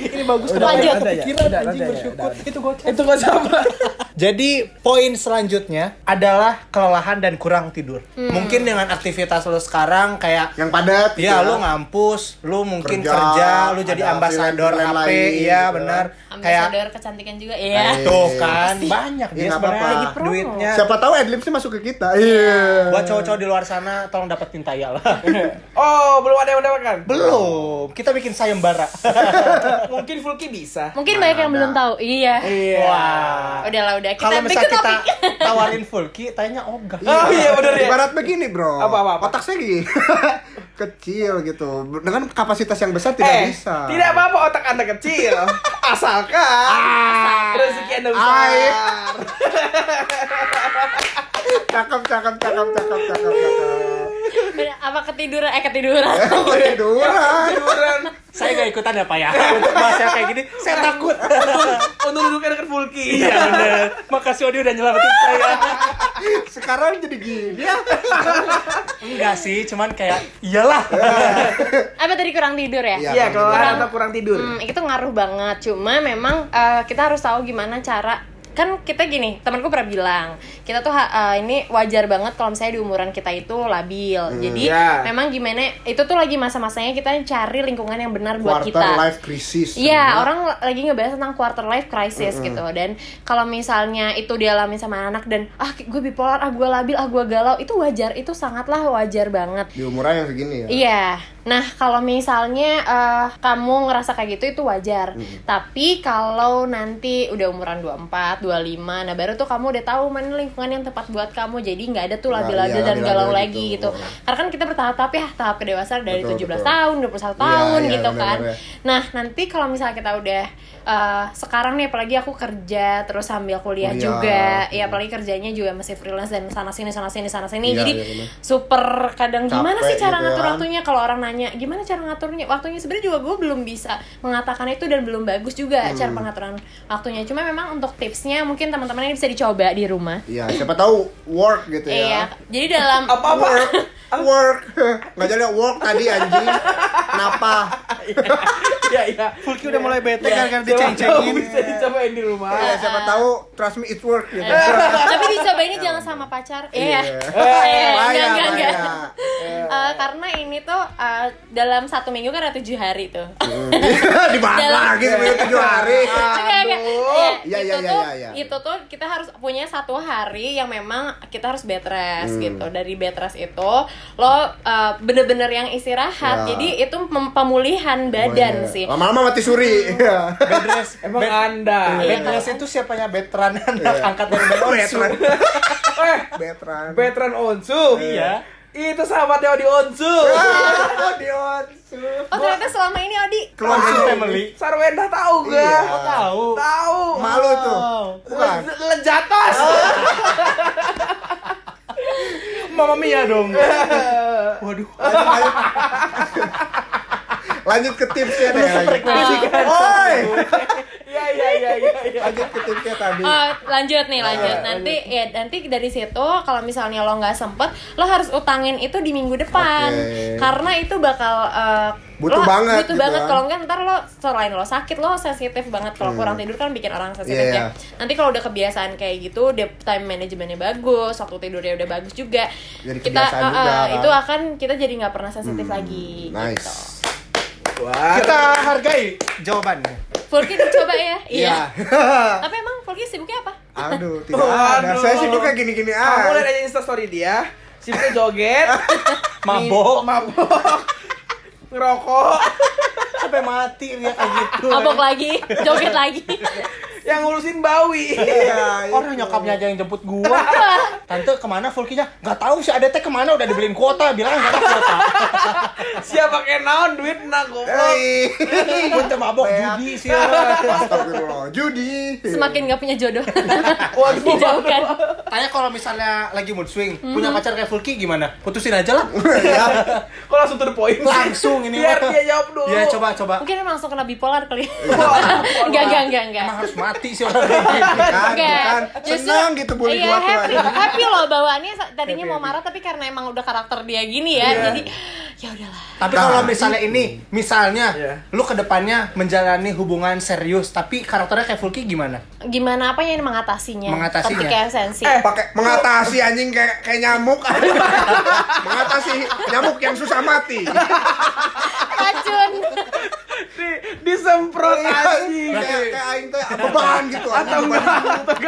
E: ini bagus
A: Udah, lanjut.
E: ada ya?
C: Pikiran,
E: Udah,
C: anjing,
E: ada ya?
C: bersyukur.
E: Udah, ada. itu gocap
C: Itu gue sama. Jadi poin selanjutnya adalah kelelahan dan kurang tidur.
A: Hmm.
C: Mungkin dengan aktivitas lo sekarang kayak
B: yang padat gitu
C: Ya, lu ngampus, lu mungkin
B: Kerja,
C: kerja, lu jadi
B: ada
C: ambasador
B: freelance-freelance
C: HP,
B: lain
C: iya
B: gitu
C: benar. Kayak
A: Ambasador kecantikan juga. Iya.
C: tuh kan banyak
B: Iya,
C: dia
B: nggak
C: sebenarnya
B: apa-apa.
A: Lagi promo.
C: duitnya.
B: siapa tahu adlibs masuk ke kita iya
C: Buat cowok-cowok di luar sana tolong dapetin taya lah.
D: Oh, belum ada yang mendapatkan.
C: Belum, kita bikin sayembara.
D: Mungkin Fulki bisa.
A: Mungkin banyak yang belum tahu. Iya.
C: Wah.
A: Udahlah, udah kita
C: Kalau
A: back to
C: misalnya kita
A: topic.
C: tawarin Fulki, tayanya ogah.
D: Oh iya bener ya.
B: Ibarat begini bro,
D: Apa, apa, apa?
B: otak saya gini kecil gitu, dengan kapasitas yang besar tidak
D: eh,
B: bisa.
D: Tidak apa-apa otak Anda kecil. Asalkan rezeki Anda besar.
B: Air. Cakep, cakep, cakep, cakep, cakep, cakep.
A: Bener, Apa ketiduran? Eh ketiduran.
D: Oh, iya.
B: Tiduran.
D: Tiduran.
C: Saya gak ikutan apa ya? Untuk bahas yang kayak gini, saya takut.
D: Untuk duduknya dekat Fulki.
C: Iya bener. Makasih Odi udah nyelamatin saya.
B: Sekarang jadi gini ya.
C: Enggak sih, cuman kayak iyalah.
A: Apa tadi kurang tidur ya?
B: Iya.
D: Iya, kelelahan atau kurang tidur.
A: Hmm, itu ngaruh banget. Cuma memang eh, kita harus tahu gimana cara kan kita gini temanku pernah bilang kita tuh ha- eh, ini wajar banget kalau misalnya di umuran kita itu labil jadi
D: ya.
A: memang gimana itu tuh lagi masa-masanya kita cari lingkungan yang benar buat
B: Quarter
A: kita
B: life crisis. kan ya.
A: Iya, orang lagi ngebahas tentang quarter life crisis gitu. Dan kalau misalnya itu dialami sama anak dan ah gue bipolar, ah gue labil, ah gue galau, itu wajar, itu sangatlah wajar banget.
B: di umuran yang segini ya.
A: Iya. Nah, kalau misalnya eh, kamu ngerasa kayak gitu itu wajar. Tapi kalau nanti udah umuran 24, 25, nah baru tuh kamu udah tahu mana lingkungan yang tepat buat kamu. Jadi nggak ada tuh
B: Nah,
A: labil-labil
B: iya,
A: dan
B: labil-labil
A: galau
B: gitu.
A: lagi gitu. Karena kan kita bertahap-tahap ya, tahap kedewasaan dari 17
B: Betul, betul.
A: tahun, 21 tahun
B: iya,
A: gitu kan.
B: benar-benar.
A: Nah, nanti kalau misalnya kita udah eh, sekarang nih apalagi aku kerja terus sambil kuliah
B: Kuliah.
A: juga. Ya apalagi kerjanya juga masih freelance dan sana sini sana sini sana sini.
B: Iya,
A: Jadi
B: iya, benar.
A: super kadang gimana
B: Capek
A: sih cara
B: gitu
A: ngatur
B: kan.
A: waktunya kalau orang nanya gimana cara ngaturnya waktunya sebenarnya juga gue belum bisa mengatakan itu dan belum bagus juga cara pengaturan waktunya cuma memang untuk tipsnya mungkin teman-teman ini bisa dicoba di rumah
B: Iya, siapa tahu work gitu
A: iya
B: ya.
A: jadi dalam
D: Apa-apa?
B: Work, work. Nggak jadi work tadi anjing. Kenapa?
D: Iya, iya.
C: Fulki udah mulai bete
D: Siapa
C: kan
D: tahu
C: diceng-cengin.
D: Bisa dicobain di rumah.
B: Ya, siapa tahu trust me it's work gitu.
A: eh, tapi dicobainnya jangan sama pacar iya Eh, enggak enggak enggak Eh, karena ini tuh eh, dalam satu minggu kan ada tujuh hari tuh
B: Dibahas
A: Dalam-
B: Iya, lagi sebelum tujuh hari.
A: Enggak, enggak.
B: Iya,
A: Ya,
B: iya,
A: itu
B: iya,
A: tuh,
B: iya, iya.
A: itu tuh kita harus punya satu hari yang memang kita harus bed rest
B: Hmm.
A: gitu. Dari bed rest itu lo uh, bener-bener yang istirahat.
B: Ya.
A: Jadi itu mem- pemulihan badan
B: Iya.
A: sih.
B: Lama-lama mati suri. Iya.
C: Bed rest.
D: Emang
C: Bed-
D: Anda.
A: Iya.
C: bed rest itu siapanya veteran anak
B: Iya.
C: angkat dari Bang Onsu.
B: Veteran.
D: Eh,
B: Veteran.
D: veteran Onsu.
C: Iya.
D: Itu sahabatnya Odi Onsu.
B: Oh, Dionsu.
A: Oh ternyata selama ini Odi.
C: Onsu
B: Keluarga
C: family.
D: Sarwendah tahu gue.
B: Iya.
C: Oh, tahu.
D: Tahu.
B: Malu tuh. Bukan. Ah.
D: Le- Lejatos.
C: Mama Mia dong. Waduh.
B: Lanjut ke tipsnya deh. lanjut.
A: Nah,
C: kan?
B: Oi.
D: Iya iya iya iya. iya.
B: Lanjut ke tipsnya tadi.
A: Oh, lanjut
B: Iya,
A: nih lanjut nanti ya nanti dari situ kalau misalnya lo nggak sempet lo harus utangin itu di minggu depan
B: Oke.
A: karena itu bakal eh,
B: Butuh
A: lo
B: banget
A: butuh
B: gitu
A: banget
B: kan.
A: kalau enggak ntar lo selain lo sakit lo sensitif banget kalau kurang tidur kan bikin orang sensitif
B: Hmm. Iya,
A: ya nanti kalau udah kebiasaan kayak gitu udah time manajemennya bagus waktu tidurnya udah bagus juga
B: Jadi
A: kita
B: kebiasaan
A: eh, eh,
B: juga kan. Hmm,
A: itu akan kita jadi nggak pernah sensitif lagi gitu
B: Nice.
D: Wah.
C: Kita hargai jawabannya.
A: Fulki dicoba ya iya
B: Iya.
A: tapi emang Fulki sibuknya apa
B: Aduh, tidak
C: Oh,
B: ada.
D: Waduh.
B: Saya sibuk kayak gini-gini
C: Ah,
D: Kamu lihat
B: aja.
D: aja instastory dia. Sibuknya joget,
C: Mabok.
D: mabok, ngerokok,
C: Sampai mati lihat kayak gitu.
A: mabok lagi joget lagi
D: yang ngurusin bawi.
B: Iya,
C: Orang
B: itu.
C: nyokapnya aja yang jemput gua. Tante kemana Fulkinya? Gak tahu si Adete kemana udah dibeliin kuota. Bilang gak ada kuota.
D: Siapa pakai naon duit nak goblok.
B: Hei.
C: Minta mabok
B: Beak.
C: judi sih.
B: Astagfirullah. Judi.
A: semakin gak punya jodoh
D: Waduh.
A: dijauhkan
C: Tanya kalau misalnya lagi mood swing,
D: Mm-hmm.
C: punya pacar kayak Fulki gimana? Putusin aja lah.
D: Kok langsung to the point sih?
C: Langsung ini.
D: Biar
C: mah.
D: dia jawab dulu.
B: Iya,
C: Ya coba coba.
A: mungkin emang langsung kena bipolar kali
D: Wah,
A: Enggak, enggak, enggak, enggak
C: Emang harus mati sih orang kayak gini.
B: kan,
A: Enggak.
B: kan.
A: Justru-
B: Senang gitu bully
A: iya,
B: gua tuh.
A: happy,
B: anjing.
A: happy loh bawaannya sa- tadinya mau marah tapi karena emang udah karakter dia gini ya jadi ya udahlah
C: Tapi kalau misalnya ini, misalnya
D: Nah. Iya.
C: lu kedepannya menjalani hubungan serius, tapi karakternya kayak Fulki gimana?
A: gimana apanya yang mengatasinya
C: Mengatasinya.
A: ketika sensi
B: Eh, pakai mengatasi anjing kayak kayak nyamuk mengatasi nyamuk yang susah mati
A: racun
D: Di, disemprot
B: Iya.
D: anjing.
B: kayak kayak aing teh beban gitu
D: iya, Atau
B: anjing
D: enggak, atau enggak.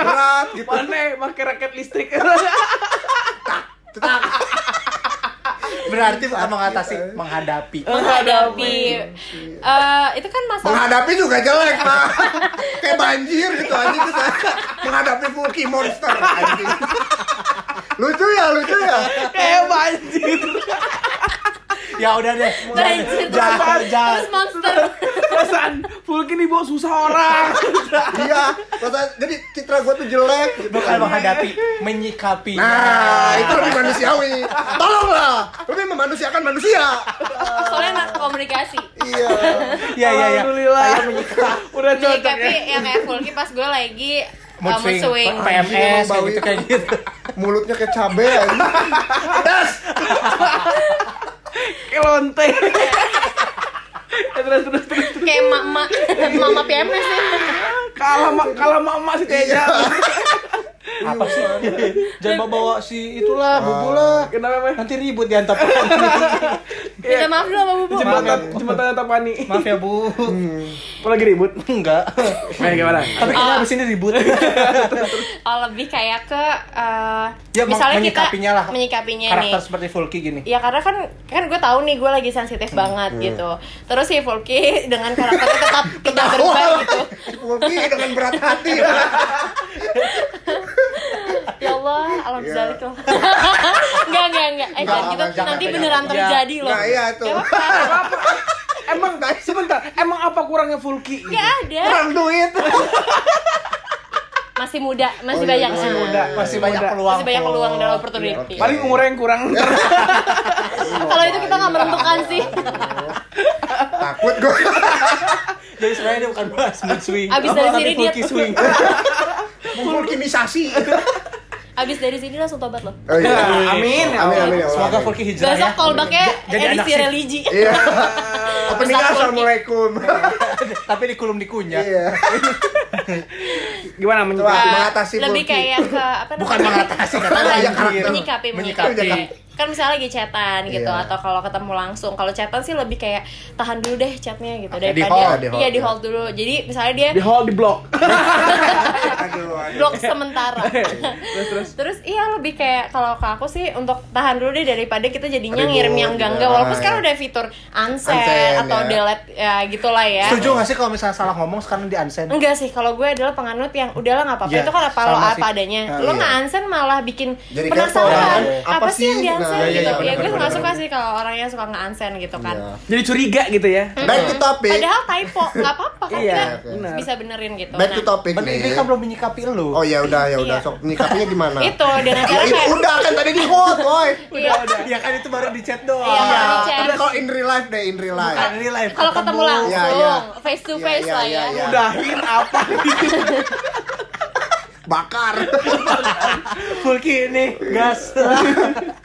B: berat gitu
D: Mana pakai raket listrik.
C: Berarti bukan mengatasi, menghadapi.
A: menghadapi Eh, itu kan masalah
B: menghadapi juga jelek pak kayak banjir gitu anjing kita menghadapi Fulky monster anjing lucu ya lucu ya
D: Kayak banjir.
C: Ya udah deh.
D: Nah,
A: Banjir,
C: Jangan, jangan.
A: terus monster
D: Perasaan Fulkin dibawa susah orang.
B: iya Masa- jadi citra gue tuh jelek gitu
C: Bukan menghadapi, menyikapi.
B: nah itu lebih manusiawi tolonglah lebih memanusiakan manusia
A: soalnya anak komunikasi
B: iya
C: ya ya ya.
D: Alhamdulillah. Udah cocok
A: tapi
D: ya.
A: yang kayak Fulky pas gue lagi uh,
C: Mood swing, PMS kayak gitu kayak gitu.
B: mulutnya kayak cabe anjing
D: Kayak lonte. Ya, terus terus terus
A: kayak mama mama PMS nih
D: kalah ma- kalah mama ya. si Teja
C: Apa sih? Jangan bawa, bawa si itulah, bubulah.
D: kenapa emang
C: Nanti ribut di antar pekan.
A: minta
B: Iya.
A: maaf dulu sama Bubu
D: jembatan jembatan Tapani
C: Maaf ya, Bu.
D: Kok lagi ribut
C: Enggak.
D: main gimana
C: Tapi kayaknya
A: Ah.
C: abis ini ribut.
A: Iya,
B: Iya,
A: oh lebih kayak ke eh,
C: Ya, meng-
A: misalnya kita
C: menyikapinya lah.
A: menyikapinya nih
C: Karakter seperti Fulki gini.
A: Ya karena kan kan gue tahu nih gue lagi
B: Hmm,
A: sensitif banget
B: iya.
A: gitu. Terus si Fulki dengan karakternya tetap tidak berubah gitu.
B: Fulky dengan berat hati
A: Ya Allah, alam
B: Iya.
A: zalik loh. Enggak enggak enggak. Eh jangan gitu
B: jangan,
A: nanti
B: jangan.
A: beneran terjadi loh.
B: nah iya itu
D: emang sebentar emang apa kurangnya Fulki
A: Enggak ada.
B: kurang duit
A: Masih muda, masih
B: Oh, iya,
A: banyak
B: masih
A: eh,
B: muda.
C: Masih banyak peluang.
A: Masih banyak peluang dan
B: Iya,
A: opportunity.
B: oke.
D: paling umurnya yang kurang
A: Kalau itu kita
B: Iya.
A: nggak menentukan sih.
B: takut gue
C: Jadi sebenarnya ini bukan bahas mood swing. Oh,
A: Abis dari
C: Tapi
A: sini dia-
C: Fulki swing.
B: Fulkinisasi
A: Abis dari sini langsung tobat loh.
B: oh, iya.
D: amin ya
B: amin amin ya Allah.
C: Semoga Fulki
A: Iya,
C: hijrah
A: Besok
C: ya.
A: callbacknya
C: Jadi anak
A: edisi
C: sih.
A: religi.
B: iya openingnya
A: Besar Fulky.
B: assalamualaikum
C: Tapi di kulum dikunyah.
B: iya
D: gimana
B: Wah,
D: menyikapi
B: mengatasi
A: lebih
B: Fulky.
A: kayak ke apa
C: Bukan
A: namanya?
C: mengatasi katanya
B: Bukan,
C: yang
B: karakter.
A: menyikapi
C: Menyikapi.
A: menyikapi kan misalnya lagi chatan gitu
B: Iya.
A: atau kalau ketemu langsung kalau chatan sih lebih kayak tahan dulu deh chatnya gitu
C: Oke,
A: daripada
C: di hold,
B: di hold,
A: iya di
B: ya.
A: hold dulu jadi misalnya dia
D: di hall di blok
B: aduh aduh.
A: blok sementara
D: terus terus
A: terus iya lebih kayak kalau ke aku sih untuk tahan dulu deh daripada kita jadinya
B: Ribut,
A: ngirim yang enggak enggak
B: iya.
A: walaupun sekarang udah fitur unsend,
B: Unsend,
A: atau
B: ya.
A: delete ya gitulah ya
C: Setuju gak sih kalau misalnya salah ngomong sekarang di
B: Iya.
C: unsend?
A: Enggak sih, kalau gue adalah penganut yang udahlah nggak apa-apa
C: Iya,
A: itu kan apa lo
C: sama
A: apa
C: sih.
A: adanya.
C: Ah,
A: lo
B: iya.
A: nggak ansen malah bikin
B: Jadi kepo,
A: penasaran
B: kan?
A: apa,
B: Apa
A: sih yang
B: sih?
A: di ansen
B: Nah,
A: gitu. ya
B: iya, iya,
A: gue
B: benar-benar,
A: nggak suka
B: benar-benar.
A: sih kalau orang yang suka nggak ansen gitu kan. Hmm.
B: Iya.
D: jadi curiga gitu ya
B: back to topic
A: Padahal typo nggak apa-apa kan
D: Iya,
A: kita
D: benar.
A: bisa benerin gitu.
B: back to topic
C: Berarti dia
B: nih
C: kan belum menyikapi lu.
B: oh ya udah ya udah
A: Iya.
B: sok nyikapinya gimana
A: itu dan akhirnya
B: Ya, itu
A: kayak
B: udah kan tadi di hot woi
A: iya,
C: Ya kan itu baru di chat doang.
A: Iya,
B: Iya,
A: baru di chat.
B: tapi kalau in real life deh, in real life.
D: Kan,
C: Bukan ini live.
A: kalau ketemu langsung
B: Iya, iya.
A: face to
B: Iya,
A: face
B: iya,
A: lah
B: iya,
A: ya.
B: iya.
D: udahin apa
B: Bakar.
C: Fulki ini gas.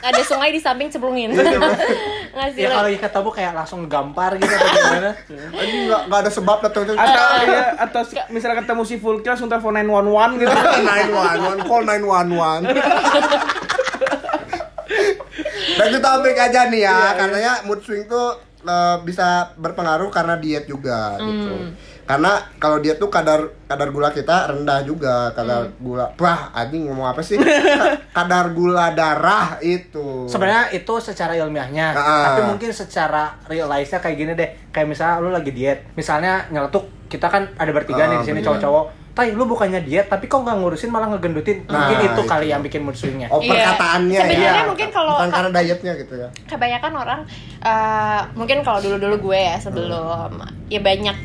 A: Ada sungai di samping cebungin. Ngasih
B: Iya,
C: ya
A: lo.
C: kalau ketemu kayak langsung gampar gitu atau gimana?
B: Anjing enggak enggak ada sebab datang itu.
D: atau
A: Eh.
D: iya, atau si- misalnya ketemu si Fulki langsung telepon 911 gitu
B: 911, call 911. Dan itu topik aja nih
A: Iya,
B: ya, katanya mood swing tuh eh, bisa berpengaruh karena diet juga gitu.
A: Hmm.
B: Karena kalau diet tuh kadar kadar gula kita rendah juga, kadar
A: Hmm.
B: gula wah anjing ngomong apa sih? kadar gula darah itu.
C: Sebenarnya itu secara ilmiahnya,
B: Ah.
C: tapi mungkin secara real life-nya kayak gini deh. Kayak misalnya lu lagi diet, misalnya nyeletuk, kita kan ada bertiga
B: Ah,
C: nih di sini cowok-cowok. Tai, lu bukannya diet, tapi kok nggak ngurusin malah ngegendutin.
B: Nah,
C: mungkin
B: itu.
C: itu, kali yang bikin mood swing-nya.
B: Oh
A: Iya.
B: perkataannya
A: Sebenarnya
B: ya.
A: mungkin kalau- Iya.
B: bukan karena dietnya gitu ya.
A: kebanyakan orang eh, mungkin kalau dulu dulu gue ya sebelum ya banyak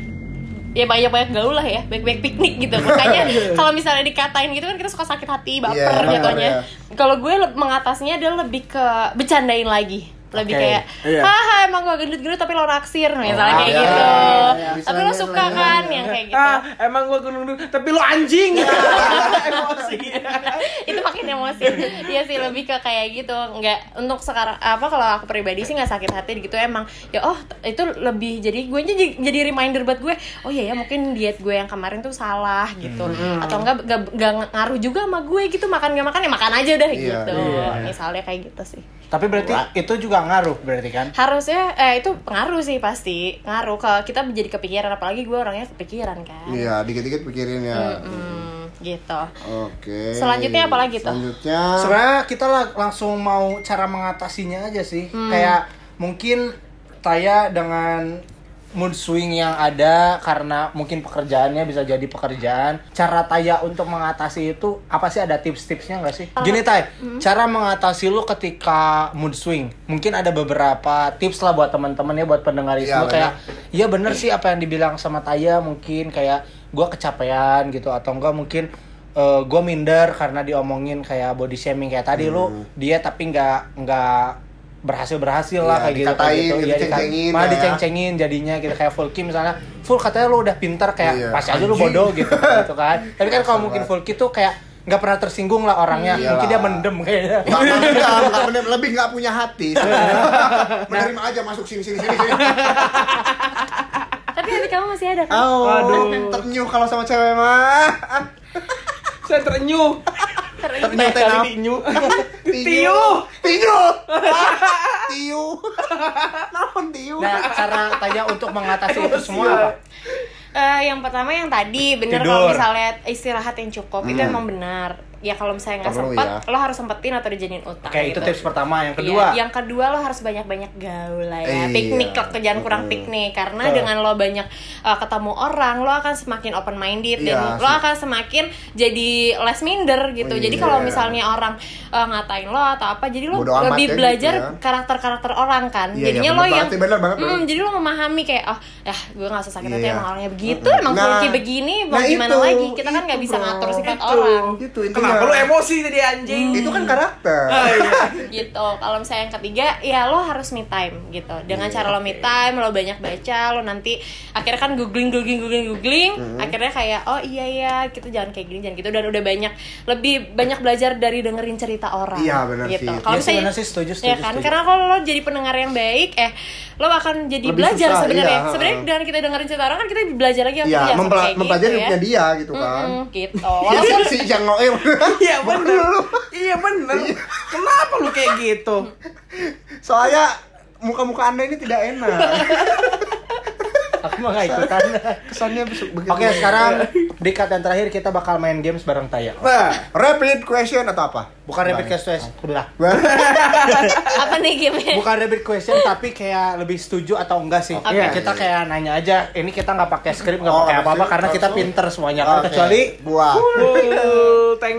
A: ya banyak banyak gaul lah ya banyak banyak piknik gitu makanya kalau misalnya dikatain gitu kan kita suka sakit hati baper
B: Iya, baper,
A: jatuhnya
B: ya.
A: kalau gue le- mengatasinya adalah lebih ke bercandain lagi lebih
C: Oke,
A: kayak
D: iya.
A: haha emang gue gendut-gendut tapi lo naksir misalnya kayak
B: iya,
A: gitu
B: iya, iya.
A: tapi lo
B: Misalnya,
A: suka
B: iya,
A: kan yang kayak gitu Iya.
D: ah emang gua gunung tapi lu anjing emosi
A: itu makin emosi sih iya sih lebih ke kayak gitu nggak untuk sekarang apa kalau aku pribadi sih nggak sakit hati gitu emang ya oh t- itu lebih jadi gue jadi, jadi reminder buat gue oh iya ya mungkin diet gue yang kemarin tuh salah gitu
B: Hmm.
A: atau enggak nggak nggak ngaruh juga sama gue gitu makan nggak makan ya makan aja udah
B: Iya.
A: gitu
C: Iya.
A: misalnya kayak gitu sih
C: Tapi berarti itu juga ngaruh berarti kan?
A: harusnya eh, itu pengaruh sih pasti ngaruh ke kita menjadi kepikiran apalagi gue orangnya kepikiran kan
B: Iya, dikit-dikit pikirin ya.
A: Hmm, gitu
B: Oke.
A: Selanjutnya apa lagi tuh?
B: Selanjutnya
C: Sebenarnya kita la- langsung mau cara mengatasinya aja sih. Kayak mungkin saya dengan mood swing yang ada karena mungkin pekerjaannya bisa jadi pekerjaan. Cara Taya untuk mengatasi itu apa sih ada tips-tipsnya nggak sih? Gini Tay, cara mengatasi lu ketika mood swing. Mungkin ada beberapa tips lah buat teman-teman ya buat pendengar itu
B: Iya, benar.
C: kayak Iya bener sih apa yang dibilang sama Taya mungkin kayak gua kecapean gitu atau enggak mungkin eh, gua minder karena diomongin kayak body shaming kayak tadi lu
B: Hmm.
C: dia tapi nggak nggak berhasil berhasil
B: Iya,
C: lah kayak gitu kayak
B: dikatain,
C: gitu Iya, dikat-
B: diceng-cengin
C: malah
B: ya.
C: diceng-cengin jadinya gitu kayak Fulki misalnya full katanya lu udah pinter kayak
B: Iya.
C: pasti aja lu bodoh gitu gitu kan tapi kan kalau mungkin Fulki tuh kayak nggak pernah tersinggung lah orangnya
B: Iyalah.
C: mungkin dia mendem kayaknya
B: Nggak, nggak, nggak, bener- lebih nggak punya hati.
D: Iya.
B: Menerima aja masuk sini sini sini. sini.
A: tapi hati kamu masih ada kan
B: Oh,
D: Aduh.
B: ternyuh kalau sama cewek mah.
D: Saya terenyuh. Iya,
B: Ternyuh tenap. Tinyu.
D: Tinyu.
B: Tinyu. Tinyu. Naon tinyu?
C: nah cara Taya untuk mengatasi itu semua
A: Iya.
C: apa?
A: Eh, yang pertama yang tadi bener kalau
C: Tidur.
A: misalnya istirahat yang cukup itu emang benar ya kalau misalnya nggak
B: Hmm. Perlu
A: sempat
B: ya.
A: lo harus sempetin atau dijadiin utang
C: Oke, itu
A: gitu.
C: tips pertama. Yang
A: Iya,
C: kedua,
A: yang kedua lo harus banyak-banyak gaul lah ya.
B: Iya.
A: Piknik lah, jangan kurang piknik karena dengan lo banyak uh, ketemu orang, lo akan semakin open minded
B: Iya,
A: dan lo
B: sih.
A: akan semakin jadi less minder gitu. Jadi
B: Iya.
A: kalau misalnya orang uh, ngatain lo atau apa, jadi lo
B: Bodo amat ya
A: lebih
B: gitu
A: belajar
B: ya.
A: karakter-karakter orang kan.
B: Iya,
A: Jadinya lo
B: iya, bener
A: yang
B: banget sih, bener banget,
A: Mm,
B: bener.
A: jadi lo memahami kayak oh, ya gue nggak usah sakit hati
B: Iya.
A: emang orangnya begitu,
B: Mm-mm.
A: emang
B: Nah,
A: Fulki begini, mau
B: nah
A: gimana
B: itu,
A: lagi? Kita kan nggak
B: itu,
A: bisa
B: bro.
A: ngatur sifat orang.
B: Itu intinya.
C: Iya.
D: Kenapa lu Ah, iya. emosi jadi anjing?
B: Itu kan karakter.
A: gitu kalau misalnya yang ketiga ya lo harus me time gitu dengan
B: Iya,
A: cara lo me time lo banyak baca lo nanti akhirnya kan googling googling googling googling
B: Mm-hmm.
A: akhirnya kayak oh iya ya kita jangan kayak gini jangan gitu dan udah banyak lebih banyak belajar dari dengerin cerita orang
B: Iya, benar
A: gitu.
B: sih.
A: kalau
C: Iya sih,
A: misalnya
C: benar sih, setuju,
A: ya
C: setuju,
A: kan
C: setuju.
A: karena kalau lo jadi pendengar yang baik eh lo akan jadi
B: Lebih
A: belajar
B: susah,
A: sebenarnya
B: iya,
A: sebenarnya
B: ha-ha.
A: dengan kita dengerin cerita orang kan kita belajar lagi apa
B: Iya,
A: ya,
B: mempela-
A: kayak
B: mempelajari
A: gitu,
B: hidupnya
A: ya.
B: dia gitu kan.
A: Mm-mm, gitu
B: Iya
A: walaupun
B: si Jang Noe.
D: Iya bener. Iya bener. Kenapa lu kayak gitu?
C: Iya.
B: Soalnya muka-muka Anda ini tidak enak.
C: aku mah nggak ikutan.
B: Kesannya besok begitu. Iya.
C: Oke, sekarang di cut yang terakhir kita bakal main games bareng Taya.
B: Nah, rapid question atau apa?
C: Bukan rapid question, udah.
A: apa nih gamenya
C: Bukan rapid question tapi kayak lebih setuju atau enggak sih.
A: Oke.
C: Kita kayak nanya aja. Ini kita nggak pakai skrip, nggak
B: Oh,
C: pakai
B: nggak
C: apa-apa
B: pakai
C: karena kita
B: langsung.
C: pinter semuanya kan kecuali
B: Ah, gua.
D: Full tank.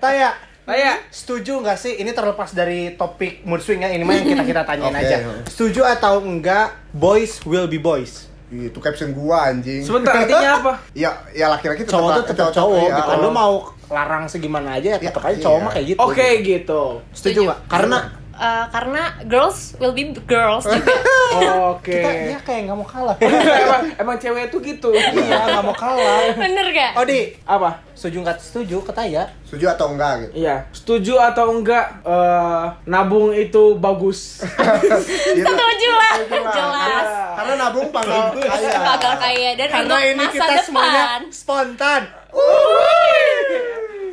C: Taya.
D: Taya.
C: Setuju nggak sih? Ini terlepas dari topik mood swing ya, ini mah yang kita kita tanyain
B: Oke.
C: aja. Setuju atau enggak? Boys will be boys.
B: Ih, Itu caption gua anjing.
D: Sebentar artinya apa?
B: Ya, ya laki-laki tetap
C: Cowok tuh tetap cowok,
B: ya.
C: gitu. Lu mau larang segimana aja ya tetap aja cowok
B: iya.
C: mah kayak gitu.
D: Oke gitu.
C: Setuju nggak? Karena
A: Eh, karena girls will be girls juga
D: Oke.
C: kita ya, dia kayak nggak mau kalah.
D: emang, emang cewek tuh gitu.
C: Iya, nggak mau kalah.
A: bener gak?
B: Oh,
D: Oh,
B: gitu.
C: Odi,
D: Apa?
C: setuju nggak setuju kata ya?
B: Setuju atau enggak gitu.
D: Iya. Setuju atau enggak eh, nabung itu bagus.
B: Itu-
A: setuju lah
B: Setuju
A: jelas
B: Gitu. Karena nabung panggang kaya.
A: bakal kaya dan untuk
C: Karena ini
A: masa
C: kita
A: depan
C: semuanya spontan.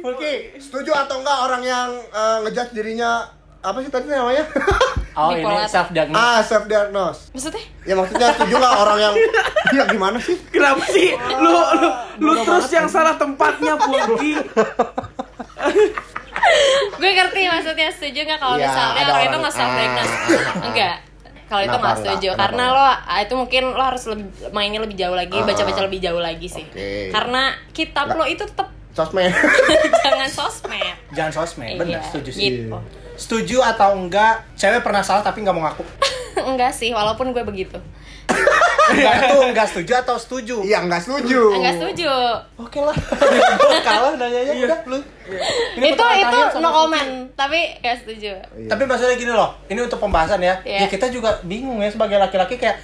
B: Oke, setuju atau enggak orang yang eh, ngejudge dirinya apa sih tadi namanya?
C: Oh
A: Bipolar.
C: ini self diagnosis.
B: ah, self diagnose.
A: maksudnya
B: Ya maksudnya setuju nggak orang yang ya gimana sih?
D: Kenapa sih? Lu lu, lu terus yang salah tempatnya Pulki.
A: gue ngerti maksudnya setuju nggak kalau
B: Iya,
A: misalnya
B: ada
A: orang, itu
B: orang-
A: nggak self diagnose
B: Ah, ah, ah.
A: enggak kalau itu
B: Kenapa
A: nggak
B: enggak?
A: setuju
B: Kenapa
A: karena lo ah, itu mungkin lo harus lebih, mainnya lebih jauh lagi
B: Ah.
A: baca-baca lebih jauh lagi sih
B: Oke.
A: karena kitab lo itu tetap
B: Sosmed.
A: jangan sosmed
C: Jangan sosmed, bener
A: Iya,
C: setuju sih.
A: gitu.
C: Setuju atau enggak? Cewek pernah salah tapi nggak mau ngaku.
A: enggak sih walaupun gue begitu
C: Enggak tuh enggak setuju atau setuju?
B: Iya, enggak setuju.
A: enggak setuju
C: Oke lah. Gua kalah nanyanya udah lu. Ini
A: Iya. itu
C: pertanyaan
A: itu
C: terakhir
A: no
C: sama Vicky.
A: comment tapi enggak setuju
C: Tapi maksudnya gini loh, ini untuk pembahasan ya.
A: Iya.
C: Ya kita juga bingung ya sebagai laki-laki kayak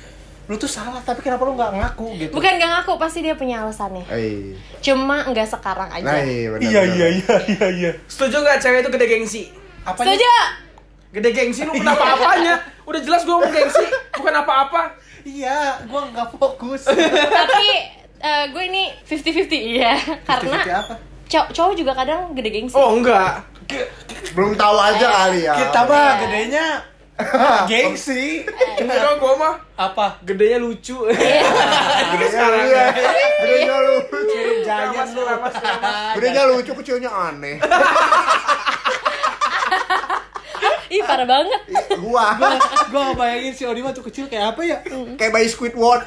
C: lu tuh salah tapi kenapa lu nggak ngaku gitu
A: Bukan gak ngaku, pasti dia punya alasannya.
B: Eh,
A: Cuma nggak sekarang aja.
B: nah iya benar.
C: iya iya iya iya iya
D: Setuju gak cewek itu gede gengsi?
C: apanya
A: Setuju?
D: Gede gengsi lu kenapa apanya? Udah jelas gue mau gengsi, bukan apa-apa.
C: iya gua nggak fokus
A: Tapi eh, gue ini 50-50 iya
C: Fifty-fifty
A: karena
C: apa
A: cow- cowok juga kadang gede gengsi
D: Oh enggak.
B: Belum tahu aja kali ya.
C: kita
D: Iya.
C: mah gedenya gengsi
D: Eh, Enggak gue mah
C: apa
D: gedenya lucu.
B: Iya, iya. Bedanya lucu.
D: Iya.
C: jangan lu
B: Bedanya lucu kecilnya aneh.
A: ih parah banget
B: Iya. Gua
C: gua nggak bayangin si Odima tuh kecil kayak apa ya
B: kayak bayi Squidward.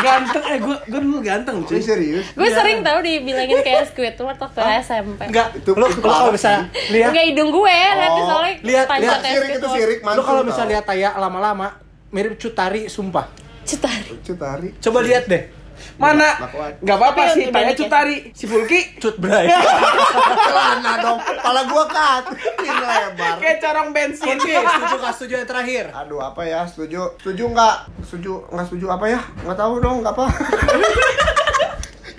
D: ganteng eh gue gue dulu ganteng
B: Ini
D: cuy.
B: serius.
A: gue sering tau dibilangin kayak Squidward waktu SMP
C: enggak
B: Itu-
C: lu
B: itu
C: lu kalau
B: parah
C: bisa lihat
A: Enggak hidung gue, nanti soalnya
C: lihat,
A: panjang kayak
B: Oh.
C: lihat,
B: Sirik itu
A: Squidward.
B: sirik mantul.
C: lu kalau
B: tau.
C: bisa lihat Taya lama-lama mirip Cutari sumpah
A: Cetari.
B: lucu tari.
C: coba lihat deh
D: Mana?
B: Lakuan.
D: Gak apa-apa
A: Tapi
D: sih,
A: yang
C: ya.
D: tanya
A: dibalikin.
D: Cutari. Si Fulki
C: Cut Bray
B: Celana dong. Kepala gua katin ya, lebar.
D: kayak corong bensin.
C: Oke, setuju gak setuju yang terakhir?
B: Aduh apa ya setuju setuju nggak setuju nggak setuju apa ya nggak tahu dong nggak apa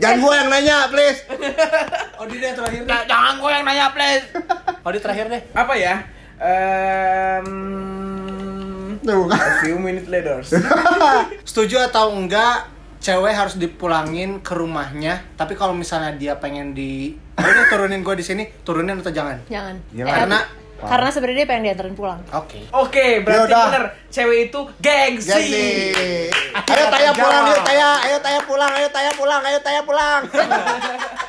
B: jangan gua yang nanya please
C: Odi deh yang Oh, terakhir deh.
D: Nah, jangan gue yang nanya please.
C: Odi terakhir deh.
D: Apa ya? Um,
B: tuh kan
D: few minutes later.
C: Setuju atau enggak cewek harus dipulangin ke rumahnya, tapi kalau misalnya dia pengen di udah turunin gue di sini, turunin atau jangan?
A: Jangan.
B: Ya,
A: Eh,
C: karena-
A: karena sebenarnya dia pengen dianterin pulang.
C: Oke.
D: Oke, berarti
B: Yaudah.
D: bener cewek itu gengsi.
B: jadi ayo taya pulang yuk taya ayo taya pulang ayo taya pulang ayo taya pulang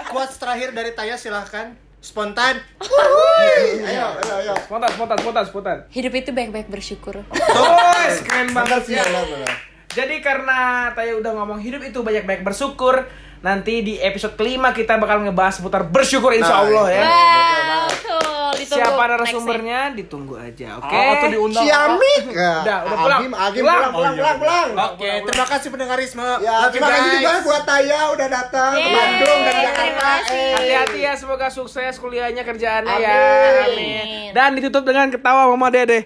C: Quotes terakhir dari Taya silahkan spontan.
B: ayo ayo ayo
D: Spontan, spontan, spontan, spontan.
A: Hidup itu baik-baik bersyukur.
D: Terus keren
B: bener
D: banget
B: sih
D: ya.
B: bener, bener.
D: Jadi karena Taya udah ngomong hidup itu banyak-banyak bersyukur, nanti di episode kelima kita bakal ngebahas seputar bersyukur
B: Nah,
D: insya Allah ya.
A: Wow, cool. Ditunggu
D: Siapa
A: next
D: narasumbernya ditunggu aja, oke?
C: Oh, atau diundang.
B: si Amik ya
D: Udah, udah pulang.
B: Agim Agim
D: Pulang.
B: pulang pulang pulang pulang
C: Oke, terima kasih pendengarisme.
B: ya terima kasih juga buat Taya udah datang ke
A: Yeay,
B: Bandung dari Jakarta
A: terima kasih.
B: Eh.
D: Hati-hati ya, semoga sukses kuliahnya, kerjaannya ya.
A: Amin.
D: Amin. Dan ditutup dengan ketawa Mama Dede.